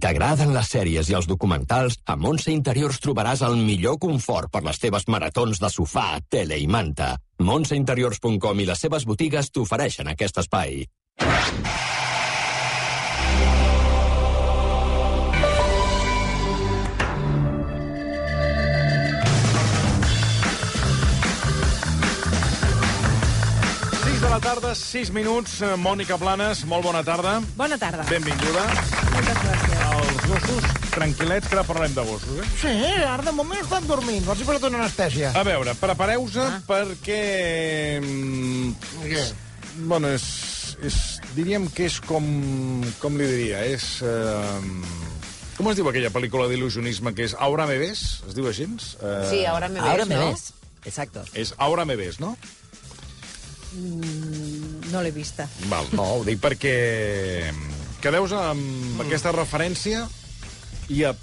t'agraden les sèries i els documentals, a Montse Interiors trobaràs el millor confort per les teves maratons de sofà, tele i manta. Montseinteriors.com i les seves botigues t'ofereixen aquest espai. de la tarda, 6 minuts. Eh, Mònica Planes, molt bona tarda. Bona tarda. Benvinguda. Moltes gràcies. Els gossos, tranquil·lets, que ara parlem de gossos, eh? Sí, ara de moment estan dormint. Els he posat una anestèsia. A veure, prepareu-vos ah. perquè... mm, Què? Bueno, és, és... Diríem que és com... Com li diria? És... Eh, com es diu aquella pel·lícula d'il·lusionisme que és Ahora me ves? Es diu així? Eh, Sí, ahora me ves, Ahora me ¿no? ves. Exacto. És Ahora me ves, no? No l'he vista. Val, no, ho dic perquè quedeu-vos amb mm. aquesta referència i a...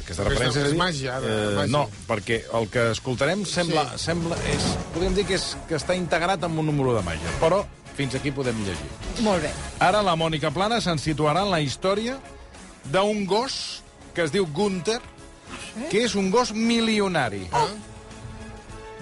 Aquesta referència és a dir, eh, màgia, ara, màgia. No, perquè el que escoltarem sembla... Sí. sembla és, podríem dir que, és, que està integrat amb un número de màgia, però fins aquí podem llegir. Molt bé. Ara la Mònica Plana se'n situarà en la història d'un gos que es diu Gunther, que és un gos milionari. Oh.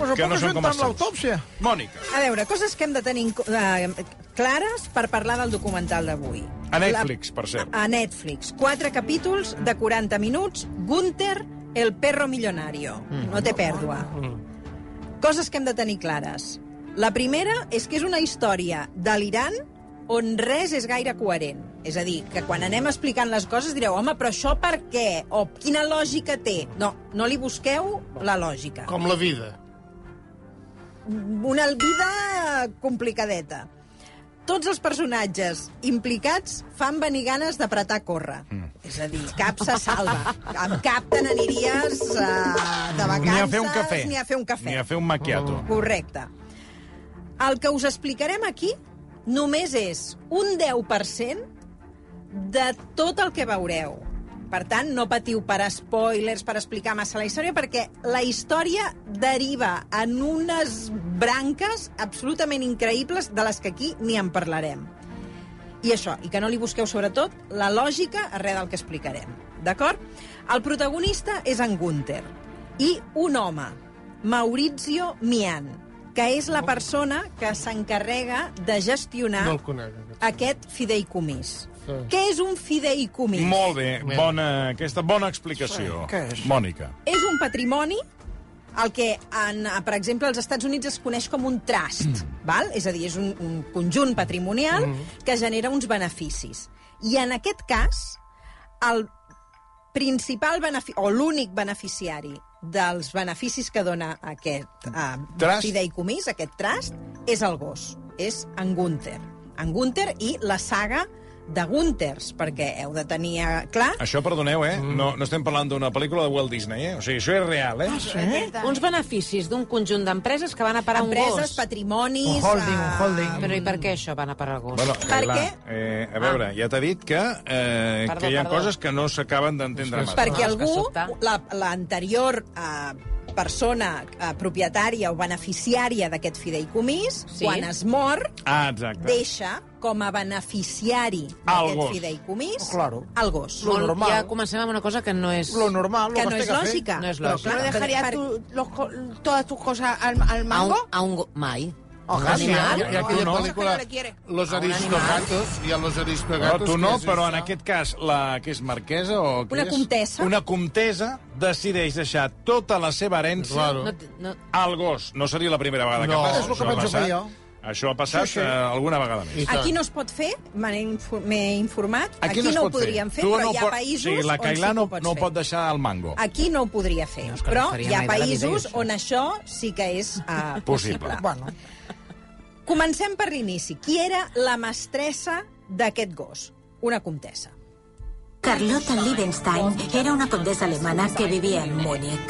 Pues Que no són com els amb l'autòpsia. Mònica, A veure, coses que hem de tenir en co- eh, clares per parlar del documental d'avui. a Netflix, per cert. A Netflix. Quatre capítols de 40 minuts. Gunther, el perro millonario. Mm. No té pèrdua. Coses que hem de tenir clares. La primera és que és una història delirant on res és gaire coherent. És a dir, que quan anem explicant les coses direu home, però això per què? O quina lògica té? No, no li busqueu la lògica. Com la vida. Una vida complicadeta. Tots els personatges implicats fan venir ganes d'apretar a córrer. Mm. És a dir, cap se salva. Amb cap te n'aniries uh, de vacances... Ni a fer un cafè. Ni a fer un cafè. Ni a fer un macchiato. Correcte. El que us explicarem aquí només és un 10% de tot el que veureu. Per tant, no patiu per spoilers, per explicar massa la història, perquè la història deriva en unes branques absolutament increïbles de les que aquí ni en parlarem. I això, i que no li busqueu sobretot la lògica arrel del que explicarem, d'acord? El protagonista és en Gunther i un home, Maurizio Mian, que és la persona que s'encarrega de gestionar Oh. No el conec. aquest fideicomís. Sí. Què és un fideicomís? Molt bé, bona, aquesta bona explicació. Què és? Mònica. És un patrimoni el que, en, eh, per exemple, als Estats Units es coneix com un trust, Mm. val? és a dir, és un, un conjunt patrimonial que genera uns beneficis. I en aquest cas, el principal benefici, o l'únic beneficiari dels beneficis que dona aquest eh, Trust. fideicomís, aquest trust, és el gos, és en Gunther. En Gunther i la saga de Gunthers, perquè heu de tenir eh, clar Ah, Això, perdoneu, eh? No, no estem parlant d'una pel·lícula de Walt Disney, eh? O sigui, això és real, eh? Uns beneficis d'un conjunt d'empreses que van a parar a un empreses, gos. patrimonis... Un holding, un eh, holding. Però i per què això van a parar al gos? Bueno, Per clar, què? Eh, a veure, ja t'he dit que, eh, Perdó, que hi ha perdó. coses que no s'acaben d'entendre massa. Ah, és Perquè que algú, sobta. la- l'anterior la, eh, persona eh, propietària o beneficiària d'aquest fideicomís, Sí. sí. quan es mor, Ah, exacte. deixa com a beneficiari gos. d'aquest fideicomís Oh, claro. el gos. Lo normal. Ja comencem amb una cosa que no és... Lo normal, lo que que, no es és té que lògica. No és però lògica. clar, ¿No per- dejarías per- tú los co- todas tus cosas al, al A un, mango? a un go... Mai. Oh, Ojalá. Un animal? Sí, Y ya- ya aquella No, no. película, Eso que no le quiere. Los A un Aristogatos, y a los Aristogatos... No, tu no, que es però en esa. aquest cas, la que és marquesa o què Una és? comtessa. Una comtesa decideix deixar tota la seva herència Claro. No, t- no, al gos. No seria la primera vegada No, que passa. és el que Això ha penso passat- fer jo. Això ha passat Sí, sí. eh, alguna vegada més. I tant. Aquí no es pot fer, me n'he infor- m'he informat, aquí, no, ho pot podríem fer, Tu però hi ha pot- països sí, la on sí Cailà que no, ho pots no fer. pot deixar el mango. Aquí no ho podria fer, No, és que no però faria hi ha mai de la vida, països això. on això sí que és uh, Possible. possible. Bueno, Comencem per l'inici. Qui era la mestressa d'aquest gos? Una comtessa. Carlota Liebenstein era una condesa alemana que vivía en Múnich.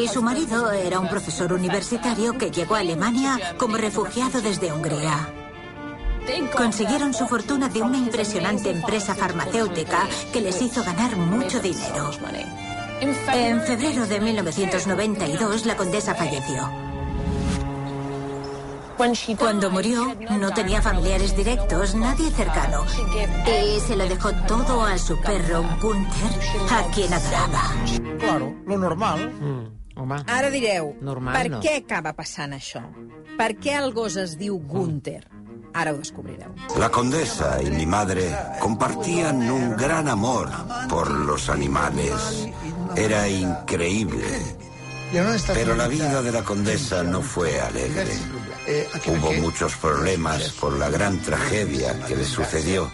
Y su marido era un profesor universitario que llegó a Alemania como refugiado desde Hungría. Consiguieron su fortuna de una impresionante empresa farmacéutica que les hizo ganar mucho dinero. En febrero de 1992, la condesa falleció. Cuando murió, no tenía familiares directos, nadie cercano. Y se lo dejó todo a su perro Gunther, a quien adoraba. Claro, lo normal. Mm, home, Ara direu, Normal, per no? què acaba passant això? Per què el gos es diu Gunther? Ara ho descobrireu. La condesa y mi madre compartían un gran amor por los animales. Era increíble. Pero la vida de la condesa no fue alegre. eh, Hubo muchos problemas por la gran tragedia que le sucedió.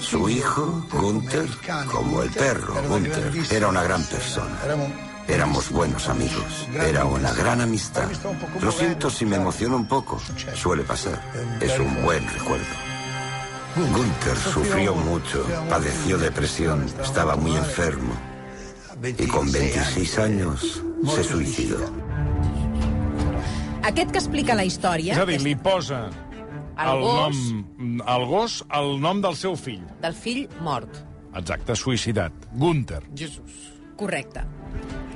Su hijo, Gunther, como el perro, Gunther, era una gran persona. Éramos buenos amigos. Era una gran amistad. Lo siento si me emociono un poco. Suele pasar. Es un buen recuerdo. Gunther sufrió mucho, padeció depresión, estaba muy enfermo y con 26 años se suicidó. Aquest que explica la història... És a dir, li posa El el gos. nom al gos el nom del seu fill. del fill mort. Exacte, suïcidat. Gunther. Correcte.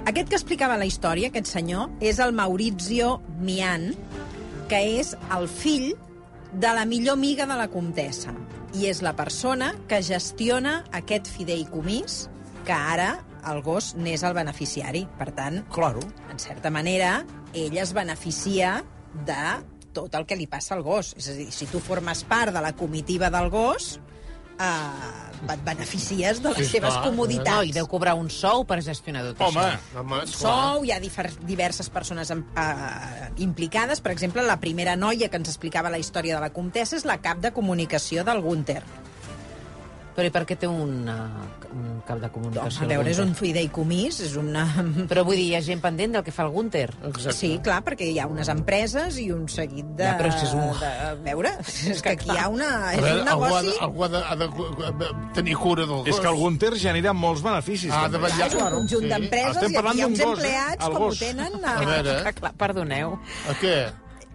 Aquest que explicava la història, aquest senyor, és el Maurizio Mian, que és el fill de la millor amiga de la comtessa i és la persona que gestiona aquest fideïcomís que ara el gos n'és el beneficiari. Per tant, Claro. en certa manera, ell es beneficia de tot el que li passa al gos. És a dir, si tu formes part de la comitiva del gos, eh, et beneficies de les Sí, seves clar. comoditats. No, i deu cobrar un sou per gestionar tot Ah, Home, això. Home, esclar. sou, hi ha difer- diverses persones em- eh, implicades. Per exemple, la primera noia que ens explicava la història de la comtessa és la cap de comunicació del Gunther. Però i per què té un, eh, un cap de Doncs, comunicació? a el veure, és un Gunther? fideicomís, és una... Però vull dir, hi ha gent pendent del que fa el Gunther. Exacte. Sí, clar, perquè hi ha unes empreses i un seguit de... Ja, però és que és un- De, a veure, és que aquí hi ha una... A És veure, un algú, ha negoci... de, algú ha de, ha de tenir cura del gos. És que el Gunther genera molts beneficis. Ha de també. vetllar. És un conjunt Sí. d'empreses Estem i aquí hi ha parlant uns d'un gos, eh? empleats El com ho gos. tenen... A A... veure, Que clar, perdoneu. a què?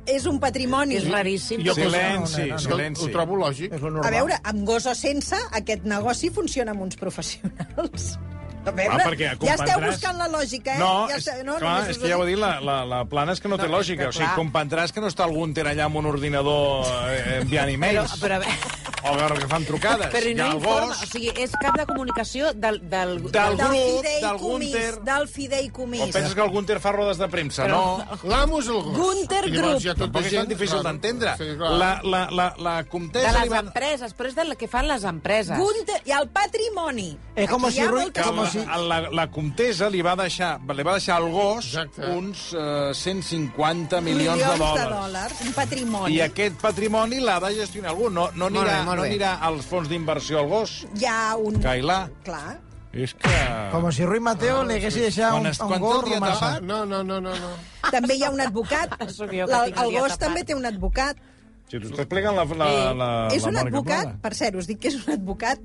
És un patrimoni. És raríssim. Jo- Silenci, No, no, no, no. Ho silenci. trobo lògic. És lo normal. A veure, amb gos o sense, aquest negoci funciona amb uns professionals. A veure, Ah, perquè ja comprendràs- esteu buscant la lògica, eh? No, ja és, esteu... clar, només és us que ja dic- ho ha dit la, la, la plana, és que no, té és lògica. que O sigui, clar. comprendràs que no està el Gunther allà amb un ordinador eh, enviant Però, e-mails. però, a veure- O veure que fan trucades. però Hi no ha el informa. O gos, sigui, és cap de comunicació del... del, Del Del grup, del fideicomís, Gunther. del o fideicomís. penses que el Gunther fa rodes de premsa? Però- No. L'amo és el gos. Gunther I llavors Group. hi ha tota Tampoc és tan gent- difícil Clar, d'entendre. sí, clar. La, la, la, la De comtessa li les va... empreses, però és del que fan les empreses. Gunther, i el patrimoni. Eh, com Aquí si hi ha Rui- moltes que com la, si- la, la comtessa li va deixar, li va deixar al gos Exacte. uns eh, 150 milions, milions de de dòlars. dòlars, un patrimoni. I aquest patrimoni l'ha de gestionar algú. No, no, Molt anirà, bé, molt no bé. anirà als fons d'inversió al gos, Hi ha un... Cailà. Clar. És que... Com si Rui Mateo li hagués deixat Quan un, es- un quan gos tot hi ha romançat. tapat, Ah, No, no, no, no. no. També hi ha un advocat. Sóc jo que La- tinc el El dia gos tapat. també té un advocat. Si t'ho està explicant la, la, la, és la un Mònica advocat, Plana. per cert, us dic que és un advocat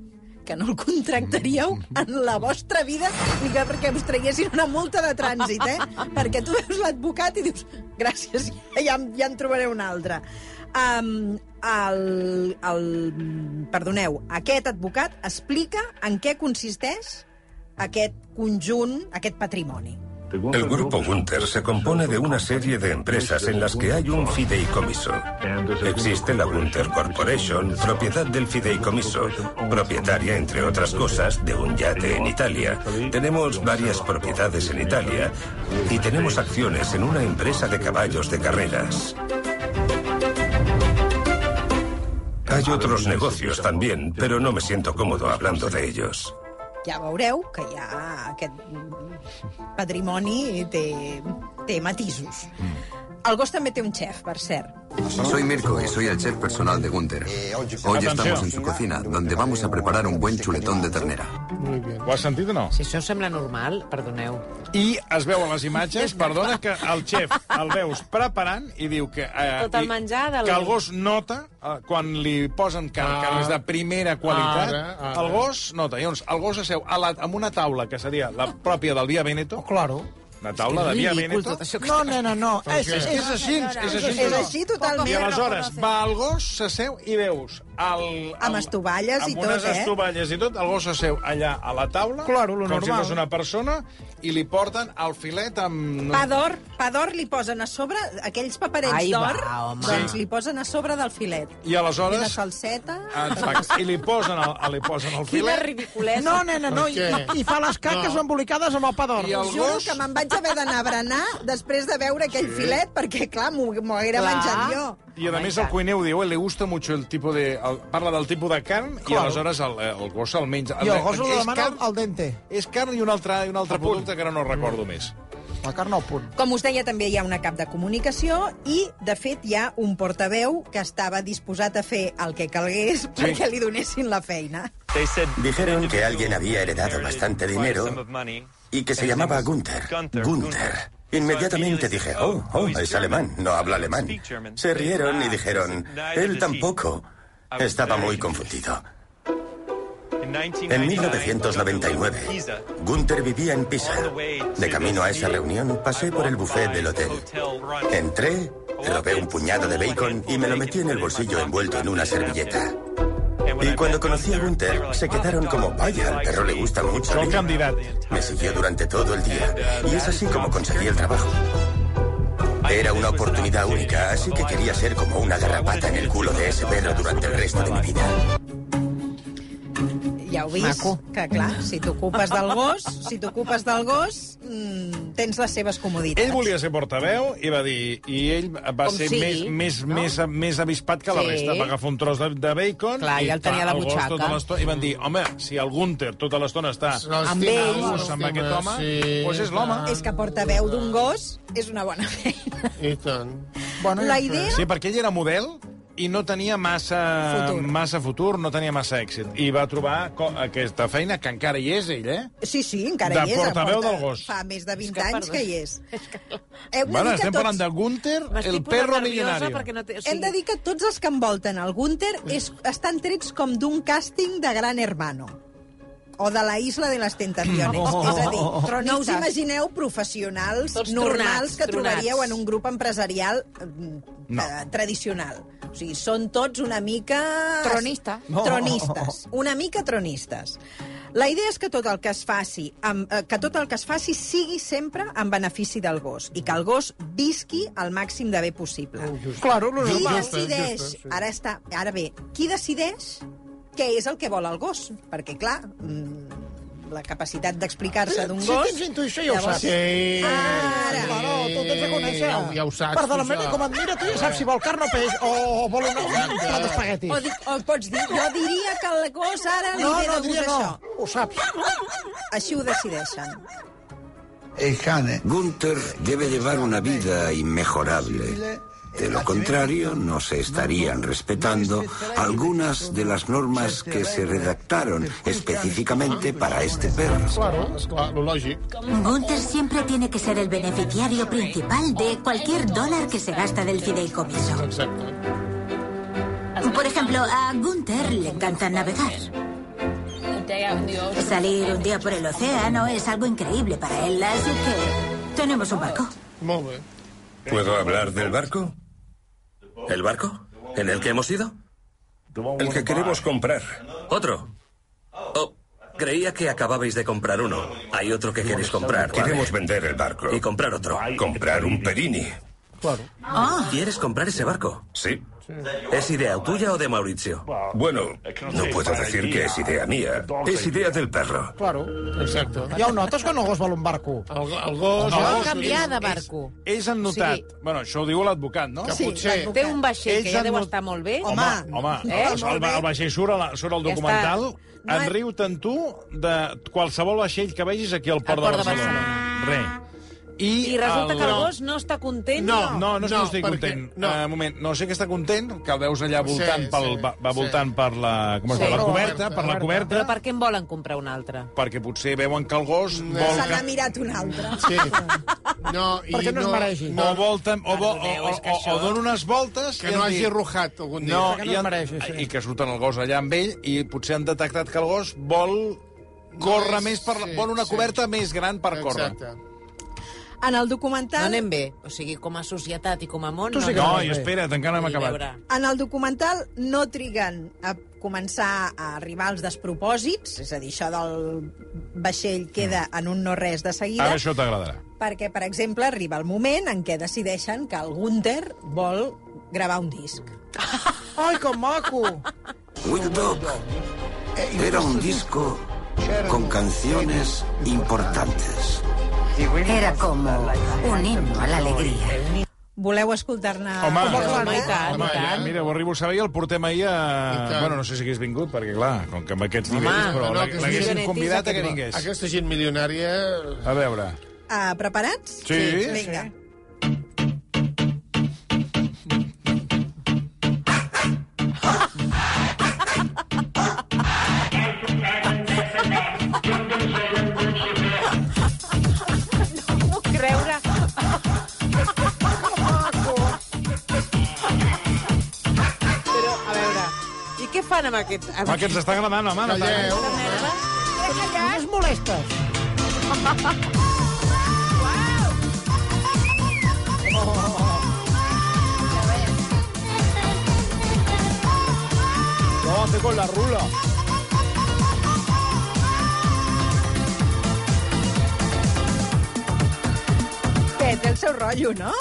que no el contractaríeu en la vostra vida ni que perquè us traguessin una multa de trànsit, eh? Perquè tu veus l'advocat i dius, gràcies, ja, em- ja en trobaré un altre. Um, el, el, perdoneu, aquest advocat explica en què consisteix aquest conjunt, aquest patrimoni. El grupo Gunther se compone de una serie de empresas en las que hay un fideicomiso. Existe la Gunther Corporation, propiedad del fideicomiso, propietaria, entre otras cosas, de un yate en Italia. Tenemos varias propiedades en Italia y tenemos acciones en una empresa de caballos de carreras. Hay otros negocios también, pero no me siento cómodo hablando de ellos. Ja veureu que hi ha aquest patrimoni i té, té matisos. El gos també té un xef, per cert. Soy Mirko y soy el chef personal de Gunther. Hoy estamos en su cocina, donde vamos a preparar un buen chuletón de ternera. Ho has sentit o no? Si això sembla normal, perdoneu. I es veu a les imatges, perdona, que el xef el veus preparant i diu que... Eh, Tot el i- menjar del- Que el gos nota, eh, quan li posen car Ara. carnes de primera Ah. qualitat, Ara, ara. el gos nota. Llavors, el gos asseu a la, amb una taula que seria la pròpia del Via Veneto, Oh, Claro. Una taula de Via Veneto. No, nena, no. Però És, què? és així. És així, És així I totalment. aleshores va el gos, s'asseu i veus... El, el, Amb estovalles i amb tot, unes eh? estovalles i tot, el gos s'asseu allà a la taula, Claro, lo com si normal. fos una persona, i li porten el filet amb... Pa d'or, pa d'or li posen a sobre, aquells paperets Ai, va, d'or, home. doncs li posen a sobre del filet. I I una aleshores... salseta... Exacte. I li posen el, li posen el Quina filet ridiculesa. No, nena, no. I, Per què? i fa les caques No. embolicades amb el pa d'or. i el Juro gos... que me'n vaig haver d'anar a berenar després de veure aquell filet, perquè, clar, m'ho m'ho haguera Clar. menjat jo. I a més el cuineu diu, eh, le gusta mucho el tipo de... El, parla del tipus de carn i Claro. aleshores el, el gos el menja. I el gos És ho demana carn- al dente. És carn i un altre, i un altre producte que ara no Mm. recordo més. La carn al punt. Com us deia, també hi ha una cap de comunicació i, de fet, hi ha un portaveu que estava disposat a fer el que calgués perquè li donessin la feina. Dijeron que alguien había heredado bastante dinero y que se llamaba Gunther. Gunther. Inmediatamente dije, oh, oh, es alemán, no habla alemán. Se rieron y dijeron, él tampoco. Estaba muy confundido. En 1999, Gunther vivía en Pisa. De camino a esa reunión, pasé por el buffet del hotel. Entré, robé un puñado de bacon y me lo metí en el bolsillo envuelto en una servilleta. Y cuando conocí a Gunther, se quedaron como, vaya, al perro le gusta mucho. Sol candidat. Me siguió durante todo el día y es así como conseguí el trabajo. Era una oportunidad única, así que quería ser como una garrapata en el culo de ese perro durante el resto de mi vida. Ja ho vist, Maco. que, clar, si t'ocupes del gos, si t'ocupes del gos, mm, tens les seves comoditats. Ell volia ser portaveu i va dir... I ell va Com ser sigui, més, més, no? més, més avispat que la Sí. resta. Va agafar un tros de, de bacon... Clar, i el tenia a la el gos butxaca. tota l'estona- I van dir, home, si el Gunther tota l'estona està... Amb a ell. gust amb aquest home, doncs és l'home. És que portaveu d'un gos és una bona feina. I tant. Bueno, La ja- idea... Sí, perquè ell era model i no tenia massa Futur. massa futur no tenia massa èxit. I va trobar co- aquesta feina, que encara hi és, ell, eh? Sí, sí, encara De hi és. portaveu del gos. Fa més de 20 que, anys perdó. que hi és. Eh, una Bueno, mica estem tots- parlant de Gunther, M'estic el posant perro nerviosa millonario. perquè No té, o sigui, Hem de dir que tots els que envolten el Gunther és, estan trets com d'un càsting de Gran Hermano o de la Isla de les Tentaciones. és a dir, no us imagineu professionals Oh. Tots normals tronats, que tronats. trobaríeu en un grup empresarial no. No. eh, tradicional. O sigui, són tots una mica... Tronistes. No. Tronistes. Una mica tronistes. La idea és que tot el que es faci, amb, eh, que tot el que es faci sigui sempre en benefici del gos i que el gos visqui el màxim de bé possible. Claro, lo Qui normal. decideix... Ara està... Ara bé, qui decideix què és el que vol el gos? Perquè, clar, mm, la capacitat d'explicar-se d'un Si gos... tens intuïció ja ho Llavors- saps. Sí. Ara. Claro, tu tens de conèixer. Ja, ho- ja ho saps. Per de la tu, manera això. com et mira, tu ja saps si vol carn o peix o vol una- un plat d'espaguetis. O, di, o pots dir, jo diria que el gos ara li No, ve no, de diria gust no. això. Ho saps. Així ho decideixen. Gunther debe llevar una vida inmejorable. De lo contrario, no se estarían respetando algunas de las normas que se redactaron específicamente para este perro. Claro, esclar, lo lògic. Gunther siempre tiene que ser el beneficiario principal de cualquier dólar que se gasta del fideicomiso. Exacte. Por ejemplo, a Gunther le encanta navegar. Salir un día por el océano es algo increíble para él, así que tenemos un barco. Molt bé. ¿Puedo hablar del barco? ¿El barco? ¿En el que hemos ido? El que queremos comprar. Otro. Oh, creía que acababais de comprar uno. Hay otro que queréis comprar. Queremos vender el barco. Y comprar otro. Comprar un Perini. ¿Quieres comprar ese barco? Sí. ¿Es idea tuya o de Mauricio? Bueno, no puedo decir que es idea mía. Es idea del perro. Claro. Exacte. Ja ho notes quan el gos vol un barco. El, el gos... Van el- canviar de barco. Ells han notat... Sí. Bueno, això ho diu l'advocat, no? Que Sí. potser... Té un vaixell que Ells ja han deu not- estar molt bé. Home, home, Eh? el, el, el vaixell surt, a la, surt al Ja documental. No en és- riu tant tu de qualsevol vaixell que vegis aquí al port, Al port de de Barcelona. Re. I, I resulta que el gos no està content. No, no, no, sé No, que estic perquè- content. No. no. Uh, moment, no sé que està content, que el veus allà voltant, sí, pel, va, va sí. voltant per la... Com es Sí. diu? La Però- coberta, per la coberta, Però per què en volen comprar un altre? perquè potser veuen que el gos vol Se que... n'ha mirat un altre. Sí. No, i Perquè no es mereixi. O volta, o, vol, Perdoneu, o, és que o, o això- dona unes voltes... Que i no han hagi dit- arrojat algun dia. No, Que i, no es han, mereix, això. i que surten el gos allà amb ell i potser han detectat que el gos vol córrer és- més per... la- sí, vol una sí. coberta més gran per córrer. Exacte. En el documental... No anem bé. O sigui, com a societat i com a món... Tu sí que anem no, bé. i espera't, encara no hem Vull acabat. veure. En el documental no triguen a començar a arribar als despropòsits, és a dir, això del vaixell queda en un no-res de seguida, Ara això t'agradarà. perquè, per exemple, arriba el moment en què decideixen que el Gunther vol gravar un disc. Ai, que maco! Will Dog era un disco con canciones importantes. Era como un himno a la alegría. Voleu escoltar-ne... Home, un fragment? Ah, home, i tant, Home, i ja, tant. mira, ho arribo a saber i el portem ahir I a... tant. Bueno, no sé si hagués vingut, perquè, clar, com que amb aquests Home, nivells, però no, l'ha- que l'haguéssim sí. convidat a que Aquesta- vingués. Aquesta gent milionària... eh, A veure. Ah, preparats? Sí. Sí, Vinga. Puc creure... Però, a veure, i què fan amb aquest... Amb Home, que ens està agradant, home, no tant. Calleu. No es molestes. Lo hace con la rula. Bé, té el seu rotllo, no?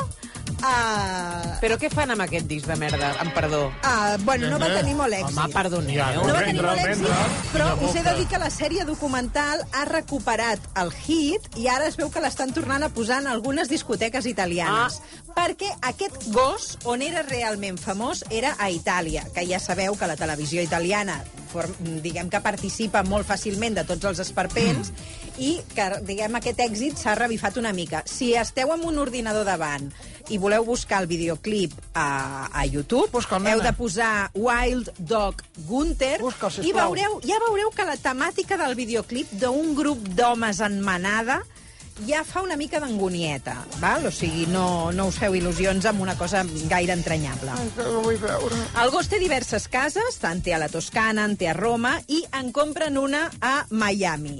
Ah, Però què fan amb aquest disc de merda? Amb perdó. ah, bueno, no va tenir molt èxit. Home, perdoneu. Ja, No va Vendre'l, tenir molt èxit, vendre'l. però Quina us he de boca. dir que la sèrie documental ha recuperat el hit i ara es veu que l'estan tornant a posar en algunes discoteques italianes. Perquè aquest gos, on era realment famós, era a Itàlia, que ja sabeu que la televisió italiana form- diguem que participa molt fàcilment de tots els esperpents i que, diguem, aquest èxit s'ha revifat una mica. Si esteu amb un ordinador davant i voleu buscar el videoclip a, a YouTube, Busca'l, nena. heu de posar Wild Dog Gunther Busca, sisplau. i veureu, ja veureu que la temàtica del videoclip d'un grup d'homes en manada ja fa una mica d'angonieta, val? O sigui, no, no us feu il·lusions amb una cosa gaire entranyable. El gos té diverses cases, tant té a la Toscana, en té a Roma, i en compren una a Miami.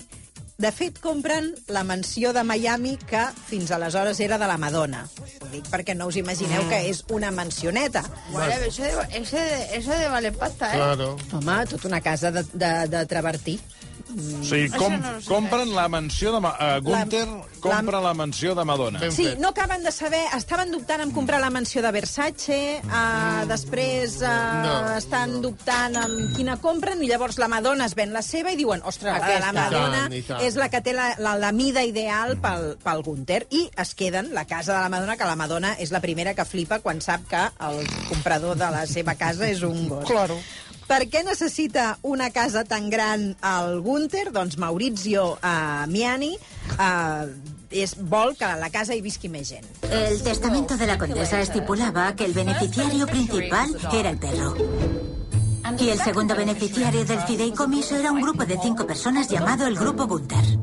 De fet, compren la mansió de Miami que fins aleshores era de la Madonna. Ho dic perquè no us imagineu Mm. que és una mansioneta. Bueno, eso de, ese de, eso de vale pasta, Ah, ¿eh? Claro. Home, tota una casa de, de, de travertí. O sigui, com, compren la mansió de... Ma- eh, Gunther compra la mansió de Madonna. Ben Sí, fet. no acaben de saber, estaven dubtant en comprar la mansió de Versace, uh, després uh, No, no, estan no. dubtant en quina compren, i llavors la Madonna es ven la seva i diuen, ostres, Aquesta. la Aquesta. de la Madonna I tant, i tant. Mm. és la que té la, la, la mida ideal pel, pel Gunther, i es queden la casa de la Madonna, que la Madonna és la primera que flipa quan sap que el comprador de la seva casa és un gos. Claro. Per què necessita una casa tan gran el Gunther? Doncs Maurizio eh, Miani eh, és, vol que a la casa hi visqui més gent. El testamento de la condesa estipulaba que el beneficiario principal era el perro. Y el segundo beneficiario del fideicomiso era un grupo de cinco personas llamado el Grupo Gunther.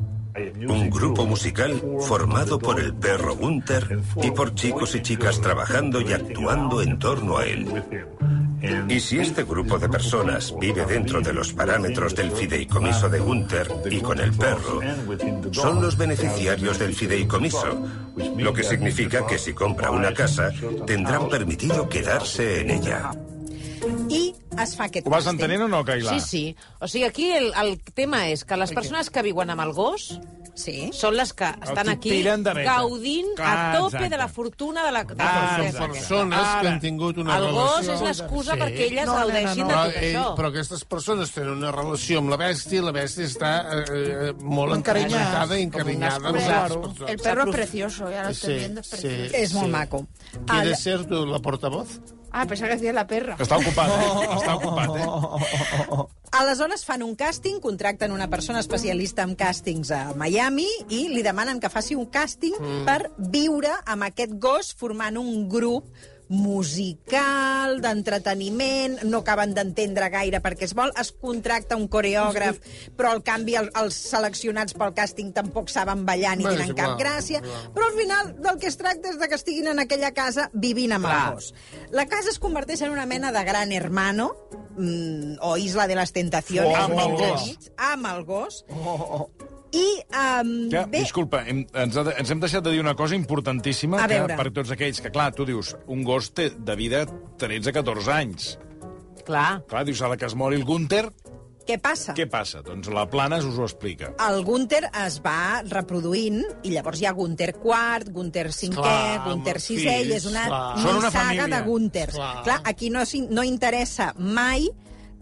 Un grupo musical formado por el perro Gunther y por chicos y chicas trabajando y actuando en torno a él. Y si este grupo de personas vive dentro de los parámetros del fideicomiso de Gunther y con el perro, son los beneficiarios del fideicomiso, lo que significa que si compra una casa, tendrán permitido quedarse en ella. I es fa aquest Ho vas càsting. entenent o no, Cailà? Sí, sí. O sigui, aquí el, el tema és que les persones que viuen amb el gos Sí. són les que estan que aquí tiren de meta. gaudint a Ah, tope exacte. de la fortuna de la, de la Ah, princesa exacte. aquesta. Persones que Ara. han tingut una El relació... gos és l'excusa Sí. perquè elles No, nena, gaudeixin no. de Però, tot ell, això. però aquestes persones tenen una relació amb la bèstia i la bèstia està eh, eh, molt Encarinyada. encarinyada i encarinyada amb les excusa. Claro. El persones. perro es precioso, ya lo estoy Sí, viendo, es sí. precioso. És molt maco. ¿Quieres ser tu la portavoz? Ah, pensaba que decía la perra. Està ocupat, eh? Oh. Està ocupat, eh? Aleshores fan un càsting, contracten una persona especialista en càstings a Miami i li demanen que faci un càsting Mm. per viure amb aquest gos formant un grup musical, d'entreteniment, no acaben d'entendre gaire perquè es vol, es contracta un coreògraf, però al canvi el, els seleccionats pel càsting tampoc saben ballar ni Bé, és tenen cap igual, gràcia, igual. però al final del que es tracta és de que estiguin en aquella casa vivint amb el gos. La casa es converteix en una mena de gran hermano, mm, o isla de les tentacions, Oh, amb el mentre gos. Oh, mig, amb el gos, I, um, Ja, bé, disculpa, hem, ens, ha de, ens hem deixat de dir una cosa importantíssima A que, veure. per tots aquells que, clar, tu dius, un gos té de vida 13-14 anys. Clar. Clar, dius, a la que es mori el Gunther, què passa? què passa? Doncs la Planes us ho explica. el Gunther es va reproduint i llavors hi ha Gunther quart, Gunther cinquè, Clar, clar, Gunther amb els sisè i és fills, una, clar. una, Són una saga família. de Gunthers. Clar. Clar. clar aquí no, s'in- no interessa mai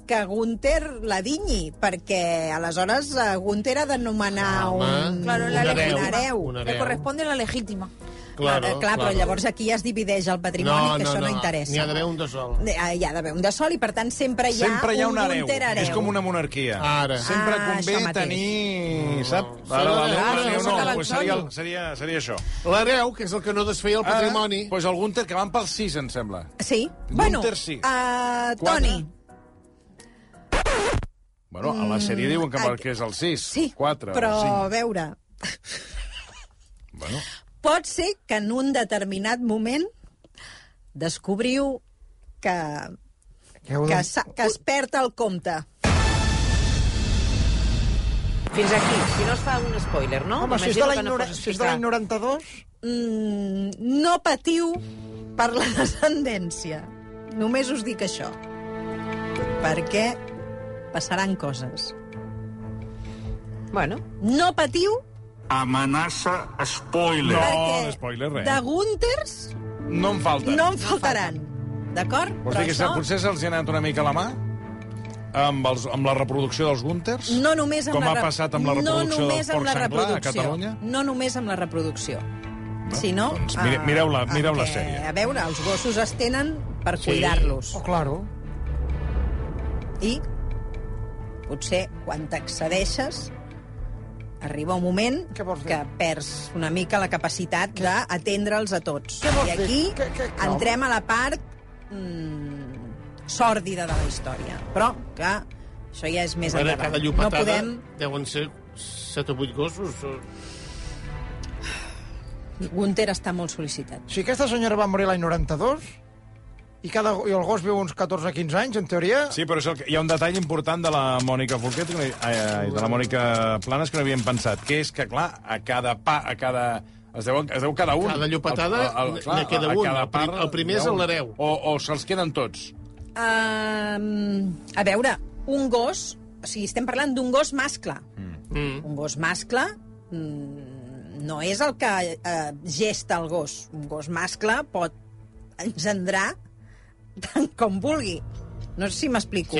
que Gunther la dinyi, perquè aleshores eh, Gunther ha de nomenar Home, un, claro, la un legítima. hereu. Un hereu. Le corresponde la legítima. Claro, clar, però llavors aquí ja es divideix el patrimoni, que això no, interessa. N'hi ha d'haver un de sol. Eh, Hi ha d'haver un de sol i, per tant, sempre hi ha, Sempre hi ha un hereu. Gunther hereu. És com una monarquia. Ara. Sempre Ah, convé això mateix. tenir... Sap? Solo Ara, l'hereu, l'hereu, l'hereu no saca no, pues seria, l'antonio. seria, seria això. L'hereu, que és el que no desfeia el patrimoni. Ara, pues el Gunther, que van pel 6, em sembla. Sí? Un Bueno, tercer. eh, Quatre. Toni, Bueno, a la sèrie diuen que, que és el 6, sí, 4 però o 5. a veure... Bueno. Pot ser que en un determinat moment descobriu que, que, s'ha- que es perd el compte. Fins aquí, si no es fa un spoiler, no? Home, si és de M'imagino l'any que no nora- pots si és de l'any explicar. 92... Mm, no patiu per la descendència. Només us dic això. Perquè passaran coses. Bueno. No patiu Amenaça spoiler. perquè de Gunters eh? No en falten. no en faltaran. D'acord? Vols dir que Doncs això... potser se'ls hi ha anat una mica la mà? Amb, els, amb la reproducció dels Gunters? No només amb Com la ha rep- passat amb la no reproducció només del amb porc senglar la a reproducció. Catalunya? No només amb la reproducció. si no, doncs mire- mireu-la- mireu la sèrie. A veure, els gossos es tenen per cuidar-los. Oh, claro. I potser quan t'accedeixes arriba un moment que, perds una mica la capacitat d'atendre'ls a tots. I aquí entrem a la part mm, sòrdida de la història. Però que això ja és més A veure, cada endavant. No llopetada podem... deuen ser 7 o 8 gossos. O... Gunther està molt sol·licitat. Si aquesta senyora va morir l'any 92, i, cada, i el gos viu uns 14-15 anys, en teoria... Sí, però és el que, hi ha un detall important de la Mònica Forquet, que no hi, ai, ai, de la Mònica Planes, que no havíem pensat, que és que, clar, a cada pa, a cada... Es deu, es deu cada un. Cada llopetada n'hi queda a un. cada El prim- el primer n'hi ha és un. l'hereu. O, o se'ls queden tots. Um, a veure, un gos... O sigui, estem parlant d'un gos mascle. Mm. Un gos mascle mm, no és el que eh, gesta el gos. Un gos mascle pot engendrar tant com vulgui. No sé si m'explico.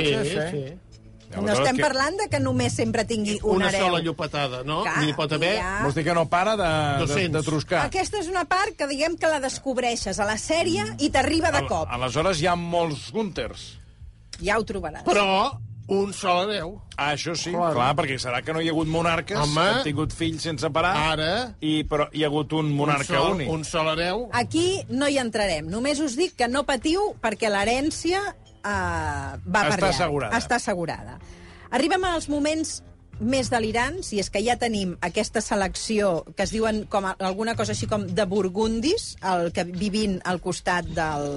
No estem parlant de que només sempre tingui un Una hereu. sola llopetada, no? Clar, N'hi pot haver... hi ha- Vols dir que no para de, de, 200. de truscar? Aquesta és una part que diguem que la descobreixes a la sèrie i t'arriba de cop. Aleshores hi ha molts Gunters. Ja ho pues trobaràs. Però un sol hereu. Ah, això sí, Claro. claro. clar, perquè serà que no hi ha hagut monarques Home. que han tingut fills sense parar, Ara... i, però hi ha hagut un monarca un sol, únic. Un sol hereu. Aquí no hi entrarem. Només us dic que no patiu perquè l'herència eh, va per Està llarg. assegurada. Està assegurada. Arribem als moments més delirants, i és que ja tenim aquesta selecció que es diuen com a- alguna cosa així com de burgundis, el que vivint al costat del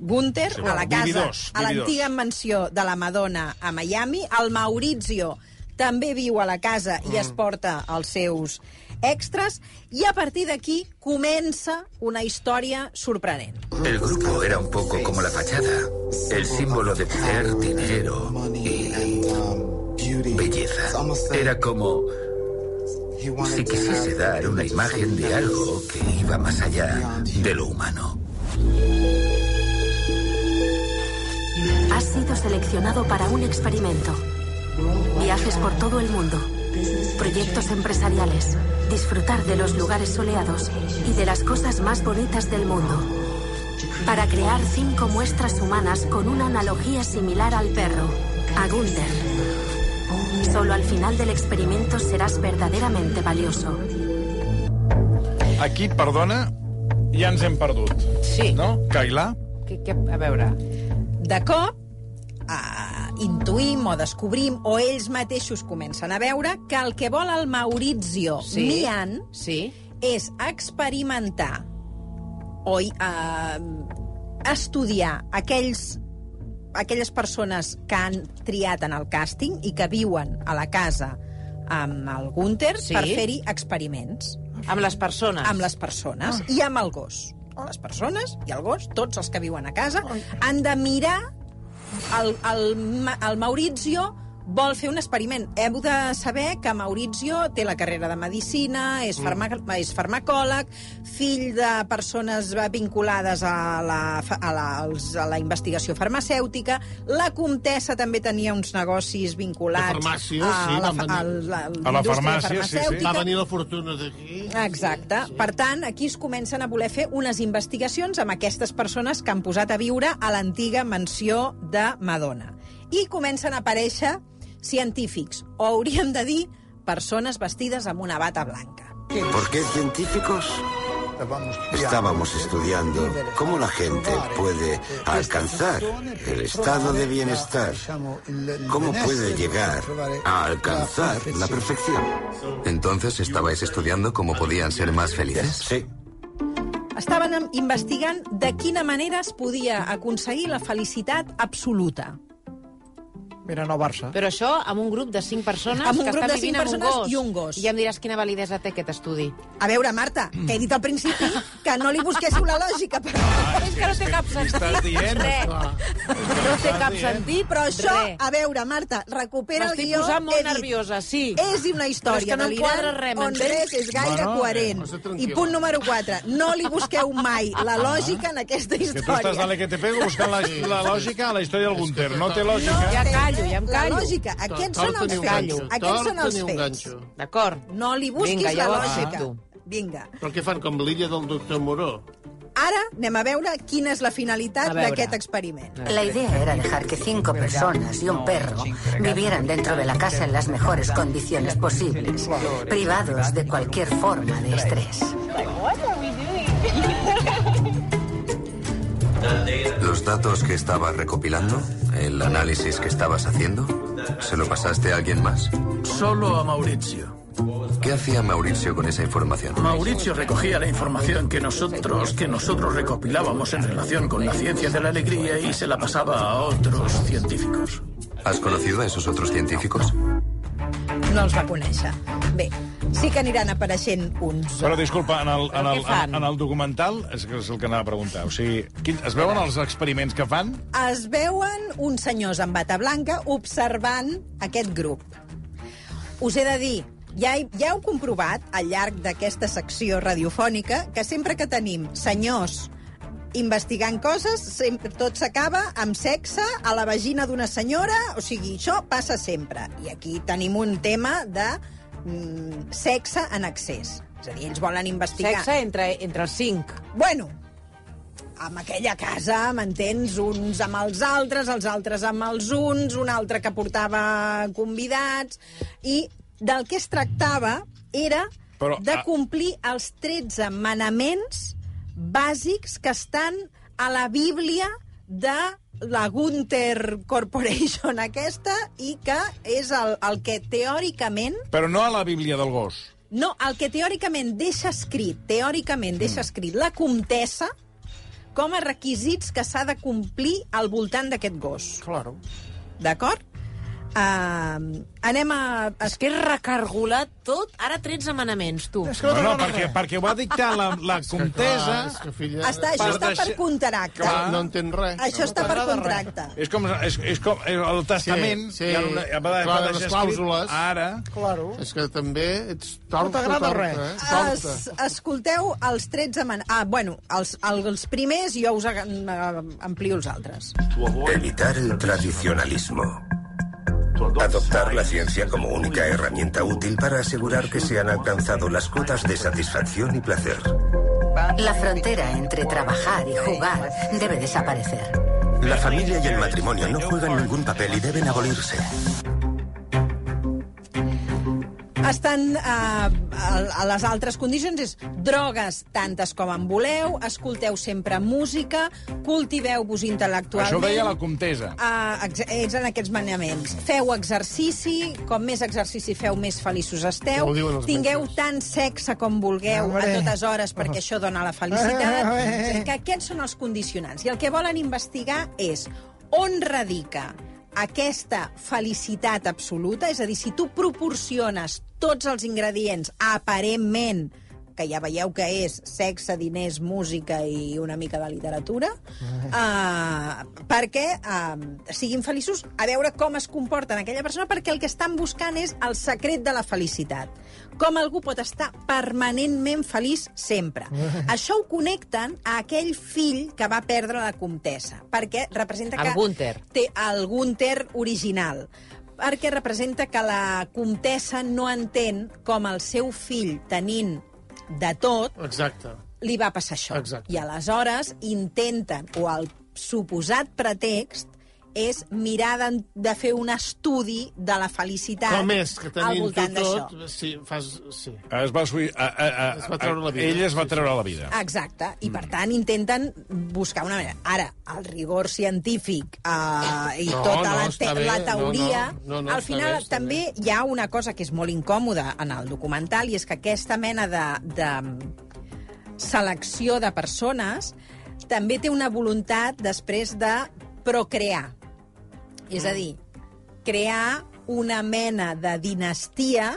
Gunther, Sí, a la casa, vividors, vividors. a l'antiga mansió de la Madonna a Miami, el Maurizio també viu a la casa i es porta els seus extras, i a partir d'aquí comença una història sorprenent. El grupo era un poco como la fachada, el símbolo de poder, dinero y belleza. Era como si quisiese dar una imagen de algo que iba más allá de lo humano. Has sido seleccionado para un experimento. Viajes por todo el mundo. Proyectos empresariales. Disfrutar de los lugares soleados y de las cosas más bonitas del mundo. Para crear cinco muestras humanas con una analogía similar al perro, a Gunther. Solo al final del experimento serás verdaderamente valioso. Aquí, perdona, ja ens hem perdut. Sí. No? Cailà? Que, que, a veure... De cop, ah, intuïm o descobrim, o ells mateixos comencen a veure, que el que vol el Maurizio Sí. Mian sí. és experimentar o eh, estudiar aquells aquelles persones que han triat en el càsting i que viuen a la casa amb el Gunther Sí. per fer-hi experiments. Amb les persones. Amb les Ah. persones i amb el gos. Les persones i el gos, tots els que viuen a casa, han de mirar el, el, Ma- el Maurizio vol fer un experiment. Heu de saber que Maurizio té la carrera de medicina, Mm. és, farma, és farmacòleg, fill de persones eh, vinculades a la, fa- a, la, als- a la investigació farmacèutica. La comtessa també tenia uns negocis vinculats De farmàcies, a, sí, la, van fa- venir. a, la, A la indústria farmàcia, sí, sí. farmacèutica. Va venir la fortuna d'aquí. Exacte. Per tant, aquí es comencen a voler fer unes investigacions amb aquestes persones que han posat a viure a l'antiga mansió de Madonna. I comencen a aparèixer científics, o hauríem de dir persones vestides amb una bata blanca. ¿Por qué científicos? Estábamos estudiando cómo la gente puede alcanzar el estado de bienestar, cómo puede llegar a alcanzar la perfección. Entonces estabais estudiando cómo podían ser más felices. Sí. Estaven em- investigant de quina manera es podia aconseguir la felicitat absoluta. Mira, no Barça. Però això amb un grup de cinc persones Amb un que grup estan de cinc vivint amb un persones gos. i un gos. I ja em diràs quina validesa té aquest estudi. A veure, Marta, que he dit al principi que no li busquéssiu la lògica. Però... és que no té cap sentit. Res. No té cap sentit, Però això, res. a veure, Marta, recupera el M'estic guió. posant he molt dit, nerviosa, sí. És una història Però és que no em delirant quadra res, on m'entens? res és gaire Bueno, coherent. eh, tranquil·la. I punt número 4. No li busqueu mai la lògica en aquesta Ah. Que història. tu estàs dale que te pego buscant la, la lògica a la història del Gunther. No té lògica. Ja callo, ja em La callo. lògica, aquests són els fets. Aquests són els fets. D'acord. No li busquis Vinga, Ah, ja la ho lògica. accepto. Vinga, Però què fan, com l'illa del doctor Moró? ara anem a veure quina és la A finalitat veure. d'aquest experiment. La idea era dejar que cinco personas y un perro vivieran dentro de la casa en las mejores condiciones posibles, privados de cualquier forma de estrés. Los datos que estabas recopilando, el análisis que estabas haciendo, ¿se lo pasaste a alguien más? Solo a Mauricio. ¿Qué hacía Mauricio con esa información? Mauricio recogía la información que nosotros, que nosotros recopilábamos en relación con la ciencia de la alegría y se la pasaba a otros científicos. ¿Has conocido a esos otros científicos? No els va conèixer. Bé, sí que aniran apareixent uns... Però, disculpa, en el, en Però el, en, què fan? en el documental, és que és el que anava a preguntar, o sigui, quin, es veuen els experiments que fan? es veuen uns senyors amb bata blanca observant aquest grup. Us he de dir, ja, he- ja heu comprovat al llarg d'aquesta secció radiofònica que sempre que tenim senyors investigant coses, sempre tot s'acaba amb sexe a la vagina d'una senyora, o sigui, això passa sempre. I aquí tenim un tema de mm, sexe en excés. És a dir, ells volen investigar... Sexe entre, entre els cinc. Bueno, amb aquella casa, m'entens, uns amb els altres, els altres amb els uns, un altre que portava convidats, i del que es tractava era Però, Però, de ah. complir els 13 manaments bàsics que estan a la Bíblia de la Gunther Corporation aquesta i que és el, el que teòricament Però no a la Bíblia del gos. no, el que teòricament deixa escrit, teòricament deixa escrit la comtessa com a requisits que s'ha de complir al voltant d'aquest gos. Claro. D'acord? Uh, anem a... És que és recargolar tot. Ara 13 manaments, tu. No, bueno, perquè, perquè ho ha dictat la, la Ah, comtesa... és que, filla, Està, això està per contracte. Clar, no entén res. Eh? Això està per contracte. És com, és, és com és el testament... Sí, sí. hi ha una, hi ha una, Clar, les clàusules. Ara... Claro. És que també ets torta, torta, eh? Es, escolteu els 13 man... Ah, bueno, els, els primers i jo us aga- eh, amplio els altres. Evitar el tradicionalismo. Adoptar la ciencia como única herramienta útil para asegurar que se han alcanzado las cuotas de satisfacción y placer. La frontera entre trabajar y jugar debe desaparecer. La familia y el matrimonio no juegan ningún papel y deben abolirse. Estan eh, a, a les altres condicions és drogues tantes com en voleu, escolteu sempre música, cultiveu-vos intel·lectualment. Això ho deia la comtessa. Ah, ex- és en aquests manaments. Feu exercici, com més exercici feu, més feliços esteu. Ho diuen els Tingueu tant sexe com vulgueu a Hombre. Ah, totes hores, perquè això dona la felicitat. És a dir, que aquests són els condicionants. I el que volen investigar és on radica aquesta felicitat absoluta, és a dir, si tu proporciones tots els ingredients aparentment que ja veieu que és sexe, diners, música i una mica de literatura, uh, perquè uh, siguin feliços, a veure com es comporten aquella persona, perquè el que estan buscant és el secret de la felicitat. Com algú pot estar permanentment feliç sempre. Això ho connecten a aquell fill que va perdre la comtessa, perquè representa que... El Gunther. Té el Gunther original perquè representa que la comtessa no entén com el seu fill, tenint de tot, Exacte. li va passar això. Exacte. I aleshores intenten, o el suposat pretext, és mirar de, de fer un estudi de la felicitat Com és que al tenint-ho voltant d'això. tot, si fas... Sí. Es va, sui... a, a, a, Es va treure la vida. Ell es va Sí, sí, treure la sí, sí. vida. Exacte, i Mm. per tant intenten buscar una manera. Ara, el rigor científic eh, i No, tota no, la, està te- bé, la no, teoria... no, no, no, al està final bé, està també hi ha una cosa que és molt incòmoda en el documental i és que aquesta mena de, de selecció de persones també té una voluntat després de procrear. És Mm. a dir, crear una mena de dinastia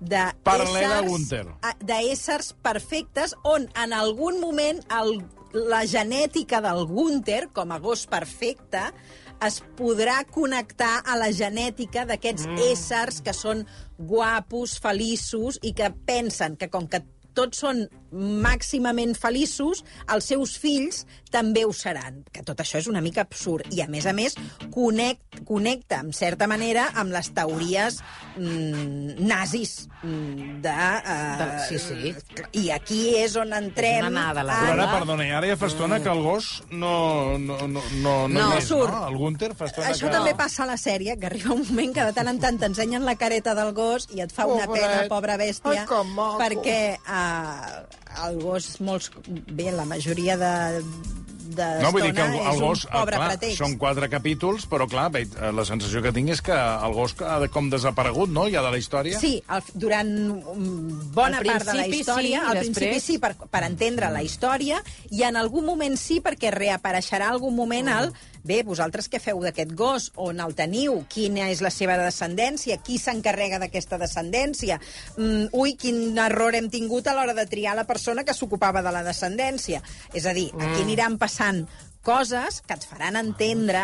de Paral·lela a éssers- Gunther. a- d'éssers perfectes on en algun moment el, la genètica del Gunther, com a gos perfecte, es podrà connectar a la genètica d'aquests mm. éssers que són guapos, feliços i que pensen que com que tots són màximament feliços, els seus fills també ho seran. Que tot això és una mica absurd. I, a més a més, connect, connecta, en certa manera, amb les teories mm, nazis mm, de... Eh, De- sí, sí. I aquí és on entrem... És una anada a la Però ara, en- perdona, i ara ja fa estona que el gos no... No, no, no, no, No, és, surt. No? El Gunther fa estona Això que... també passa a la sèrie, que arriba un moment que de tant en tant t'ensenyen la careta del gos i et fa una Pobret. pena, pobra bèstia, Ai, que maco. perquè uh, el gos, molts, bé, la majoria de, de No, vull dir que el, estona eh? el és gos... eh, un pobre clar, pretext. són quatre capítols, però clar, ve- la sensació que tinc és que el gos ha de- com desaparegut, no?, ja de la història. Sí, el, durant mm, bona Al part de la principi història, sí, al després- principi sí, per, per entendre la història, i en algun moment sí, perquè reapareixerà algun moment el... Bé, vosaltres què feu d'aquest gos? On el teniu? Quina és la seva descendència? Qui s'encarrega d'aquesta descendència? Mm, ui, quin error hem tingut a l'hora de triar la persona que s'ocupava de la descendència. És a dir, aquí aniran passant coses que et faran entendre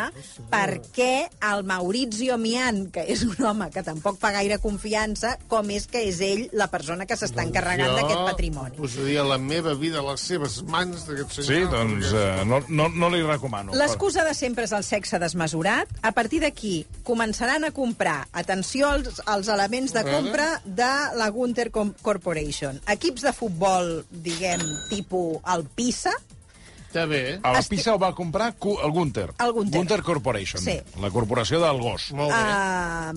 per què el Maurizio Mian, que és un home que tampoc fa gaire confiança, com és que és ell la persona que s'està encarregant d'aquest patrimoni. posaria la meva vida a les seves mans d'aquest senyor. Sí, doncs eh, no, no, no li recomano. L'excusa de sempre és el sexe desmesurat. A partir d'aquí començaran a comprar, atenció als, als elements de compra de la Gunther Com- Corporation. Equips de futbol, diguem, tipus el Pisa, Està bé. A la pizza ho va comprar cu- el Gunther. El Gunther. Gunther Corporation. Sí. La corporació del gos. Uh,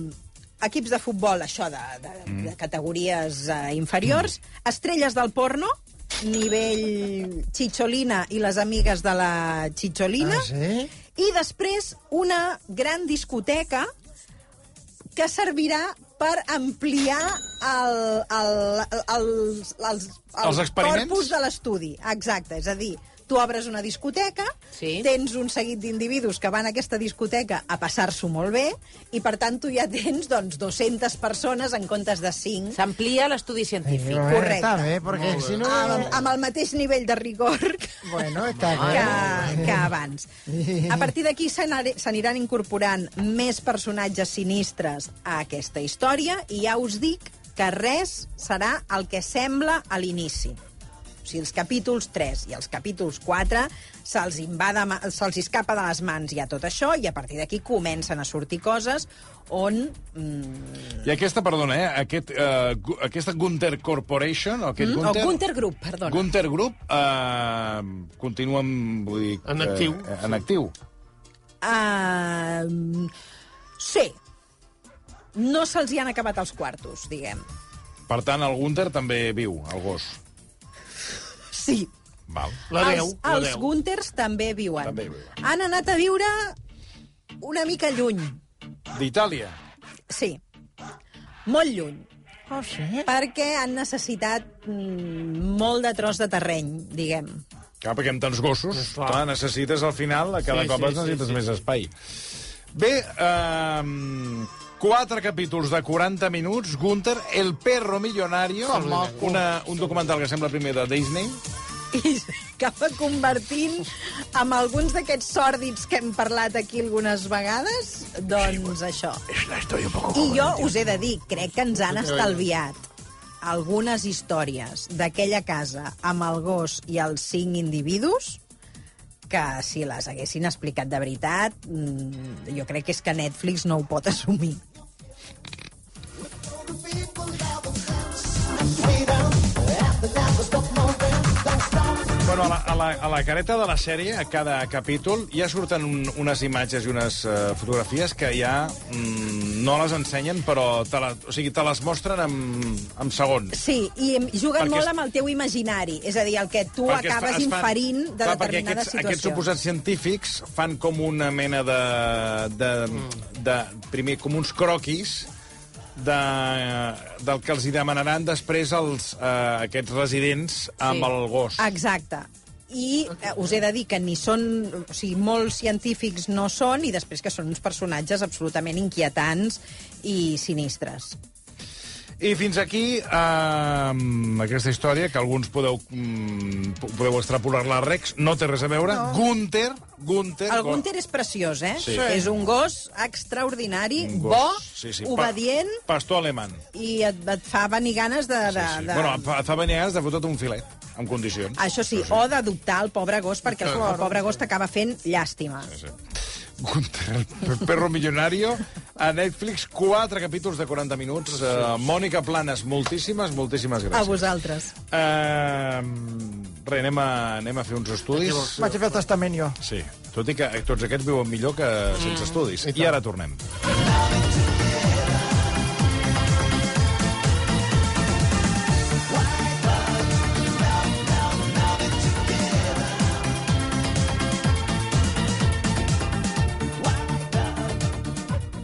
equips de futbol, això, de, de, mm. de categories uh, inferiors. Mm. Estrelles del porno, nivell Chicholina i les amigues de la Chicholina. Ah, sí? I després una gran discoteca que servirà per ampliar el, el, el, els, els, Els experiments? corpus de l'estudi. Exacte, és a dir, tu obres una discoteca, Sí. tens un seguit d'individus que van a aquesta discoteca a passar-s'ho molt bé, i per tant tu ja tens doncs, 200 persones en comptes de 5. S'amplia l'estudi científic. Bueno, correcte. Està Eh, bé, perquè si no... Amb, amb el mateix nivell de rigor que, Bueno, està bé. que, que abans. A partir d'aquí s'anar- s'aniran incorporant més personatges sinistres a aquesta història i ja us dic que res serà el que sembla a l'inici. O sigui, els capítols 3 i els capítols 4 se'ls invada, ma- se'ls escapa de les mans ja tot això i a partir d'aquí comencen a sortir coses on... Mm, I aquesta, perdona, eh, aquest, eh, gu- aquesta Gunther Corporation, o aquest mm, Gunther... O Gunther Group, perdona. Gunther Group eh, continua amb, vull dir... En actiu. Eh, en actiu. Uh, sí. No se'ls hi han acabat els quartos, diguem. Per tant, el Gunther també viu, el gos. Sí. Val. La veu, els la els veu. Gunters també viuen. També viuen. Han anat a viure una mica lluny. D'Itàlia. Sí. Molt lluny. Ah, sí? Perquè han necessitat mm, molt de tros de terreny, diguem. Clar, perquè amb tants gossos, clar. clar, necessites al final, a cada Sí, cop sí, necessites sí, sí, més sí. espai. Bé, eh, quatre capítols de 40 minuts. Gunther, El perro millonario, el mo- una, un documental que sembla primer de Disney. i s'acaba convertint amb alguns d'aquests sòrdids que hem parlat aquí algunes vegades, doncs això. I jo us he de dir, crec que ens han estalviat algunes històries d'aquella casa amb el gos i els cinc individus que si les haguessin explicat de veritat, mm, jo crec que és que Netflix no ho pot assumir. Bueno, a la, a, la, a la careta de la sèrie, a cada capítol, ja surten un, unes imatges i unes uh, fotografies que ja mm, no les ensenyen, però te, la, o sigui, te les mostren en, en segons. Sí, i em- juguen Perquè molt es- amb el teu imaginari, és a dir, el que tu Perquè es fa- acabes es fan- inferint de clar, perquè determinades aquests, situacions. Aquests suposats científics fan com una mena de... de, de, primer, com uns croquis de, del que els hi demanaran després els, eh, aquests residents amb el gos. Exacte. I eh, us he de dir que ni són... O sigui, molts científics no són i després que són uns personatges absolutament inquietants i sinistres. I fins aquí eh, aquesta història, que alguns podeu, mm, po- podeu extrapolar-la a Rex, no té res a veure. No. Gunther, Gunther... El Gunther és preciós, eh? Sí. És un gos extraordinari, Un gos, bo, sí, sí, pa- obedient, Pastor alemany. i et, et fa venir ganes de... de, Sí. de... Bueno, et fa- et fa venir ganes de fotre't un filet, en condicions. Això sí, o d'adoptar el pobre gos, perquè el, Claro. el pobre gos t'acaba fent llàstima. Gunther, el pe- perro millonario, a Netflix, quatre capítols de 40 minuts. Eh, Mònica Planes, moltíssimes, moltíssimes A gràcies. vosaltres. Eh, res, anem a, anem a fer uns estudis. Vaig a fer el testament jo. Mm. Sí, tot i que tots aquests viuen millor que sense estudis. I, ara tornem. Exacte.